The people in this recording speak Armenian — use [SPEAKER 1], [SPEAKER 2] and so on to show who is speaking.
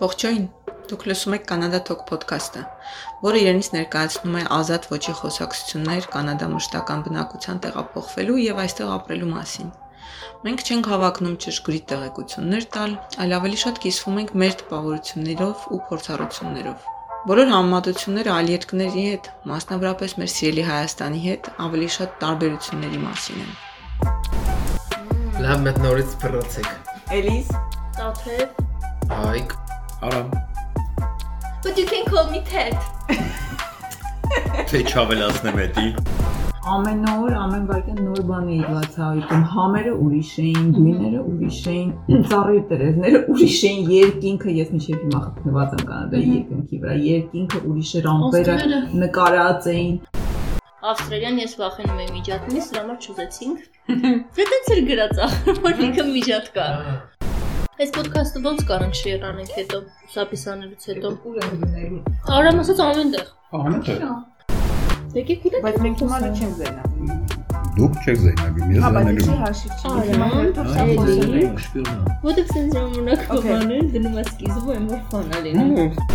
[SPEAKER 1] Ողջույն։ Դուք լսում եք Կանադա Talk podcast-ը, որը իրենից ներկայացնում է ազատ ոճի խոսակցություններ Կանադա մշտական բնակության տեղափոխվելու եւ այստեղ ապրելու մասին։ Մենք չենք հավակնում ճշգրիտ տեղեկություններ տալ, այլ ավելի շատ կիսվում ենք մեր տպավորություններով ու փորձառություններով։ Բոլոր համեմատությունները այլ երկրների հետ, մասնավորապես մեր սիրելի Հայաստանի հետ, ավելի շատ տարբերությունների մասին են։
[SPEAKER 2] Լավ մտնորից փռոցեք։
[SPEAKER 3] Elise,
[SPEAKER 4] Ted.
[SPEAKER 2] Հայկ,
[SPEAKER 5] Արամ,
[SPEAKER 4] But you can call me Ted.
[SPEAKER 5] թե չավելացնեմ էդի։
[SPEAKER 3] ամեն օր, ամեն վայրկյան նոր բան էի բացահայտում։ Համերը ուրիշ էին, գույները ուրիշ էին, ծառի տերևները ուրիշ էին, երկինքը ես միշտ հիմա խփնված եմ Կանադայի երկինքի վրա։ Երկինքը ուրիշ էր, ամպերը
[SPEAKER 4] Ոսկրերը։
[SPEAKER 3] նկարած էին։
[SPEAKER 4] Ավստրալիան ես վախենում եմ միջատումից, դրա համար չուզեցինք։ Դե դից էր գրած ախր, որ ինքը միջատ կա։ Այս ոդքասթը ոնց կարող շեյր անենք հետո, հուսապիսանելուց հետո։
[SPEAKER 6] Դե
[SPEAKER 3] Ուր են գնալու։
[SPEAKER 4] Արամ ասած ամենտեղ։
[SPEAKER 5] Ահա դա։
[SPEAKER 4] Եկեք դուք։
[SPEAKER 6] Բայց մենք հիմա դու չենք զենա։
[SPEAKER 5] Դուք չեք զայնագում, ես
[SPEAKER 6] Հա, բայց
[SPEAKER 5] զայնագում
[SPEAKER 6] չի
[SPEAKER 5] եմ։
[SPEAKER 6] հաշիվ չի։
[SPEAKER 4] Արամ,
[SPEAKER 6] Հիմա հերթով սա
[SPEAKER 4] էլի։
[SPEAKER 6] խոսում
[SPEAKER 2] շպիոնա։
[SPEAKER 4] Ո՞տեղ sense ժամանակ
[SPEAKER 6] Okay.
[SPEAKER 4] բաներ դնում ես սկիզբում, որ ֆանալին։
[SPEAKER 5] Ու,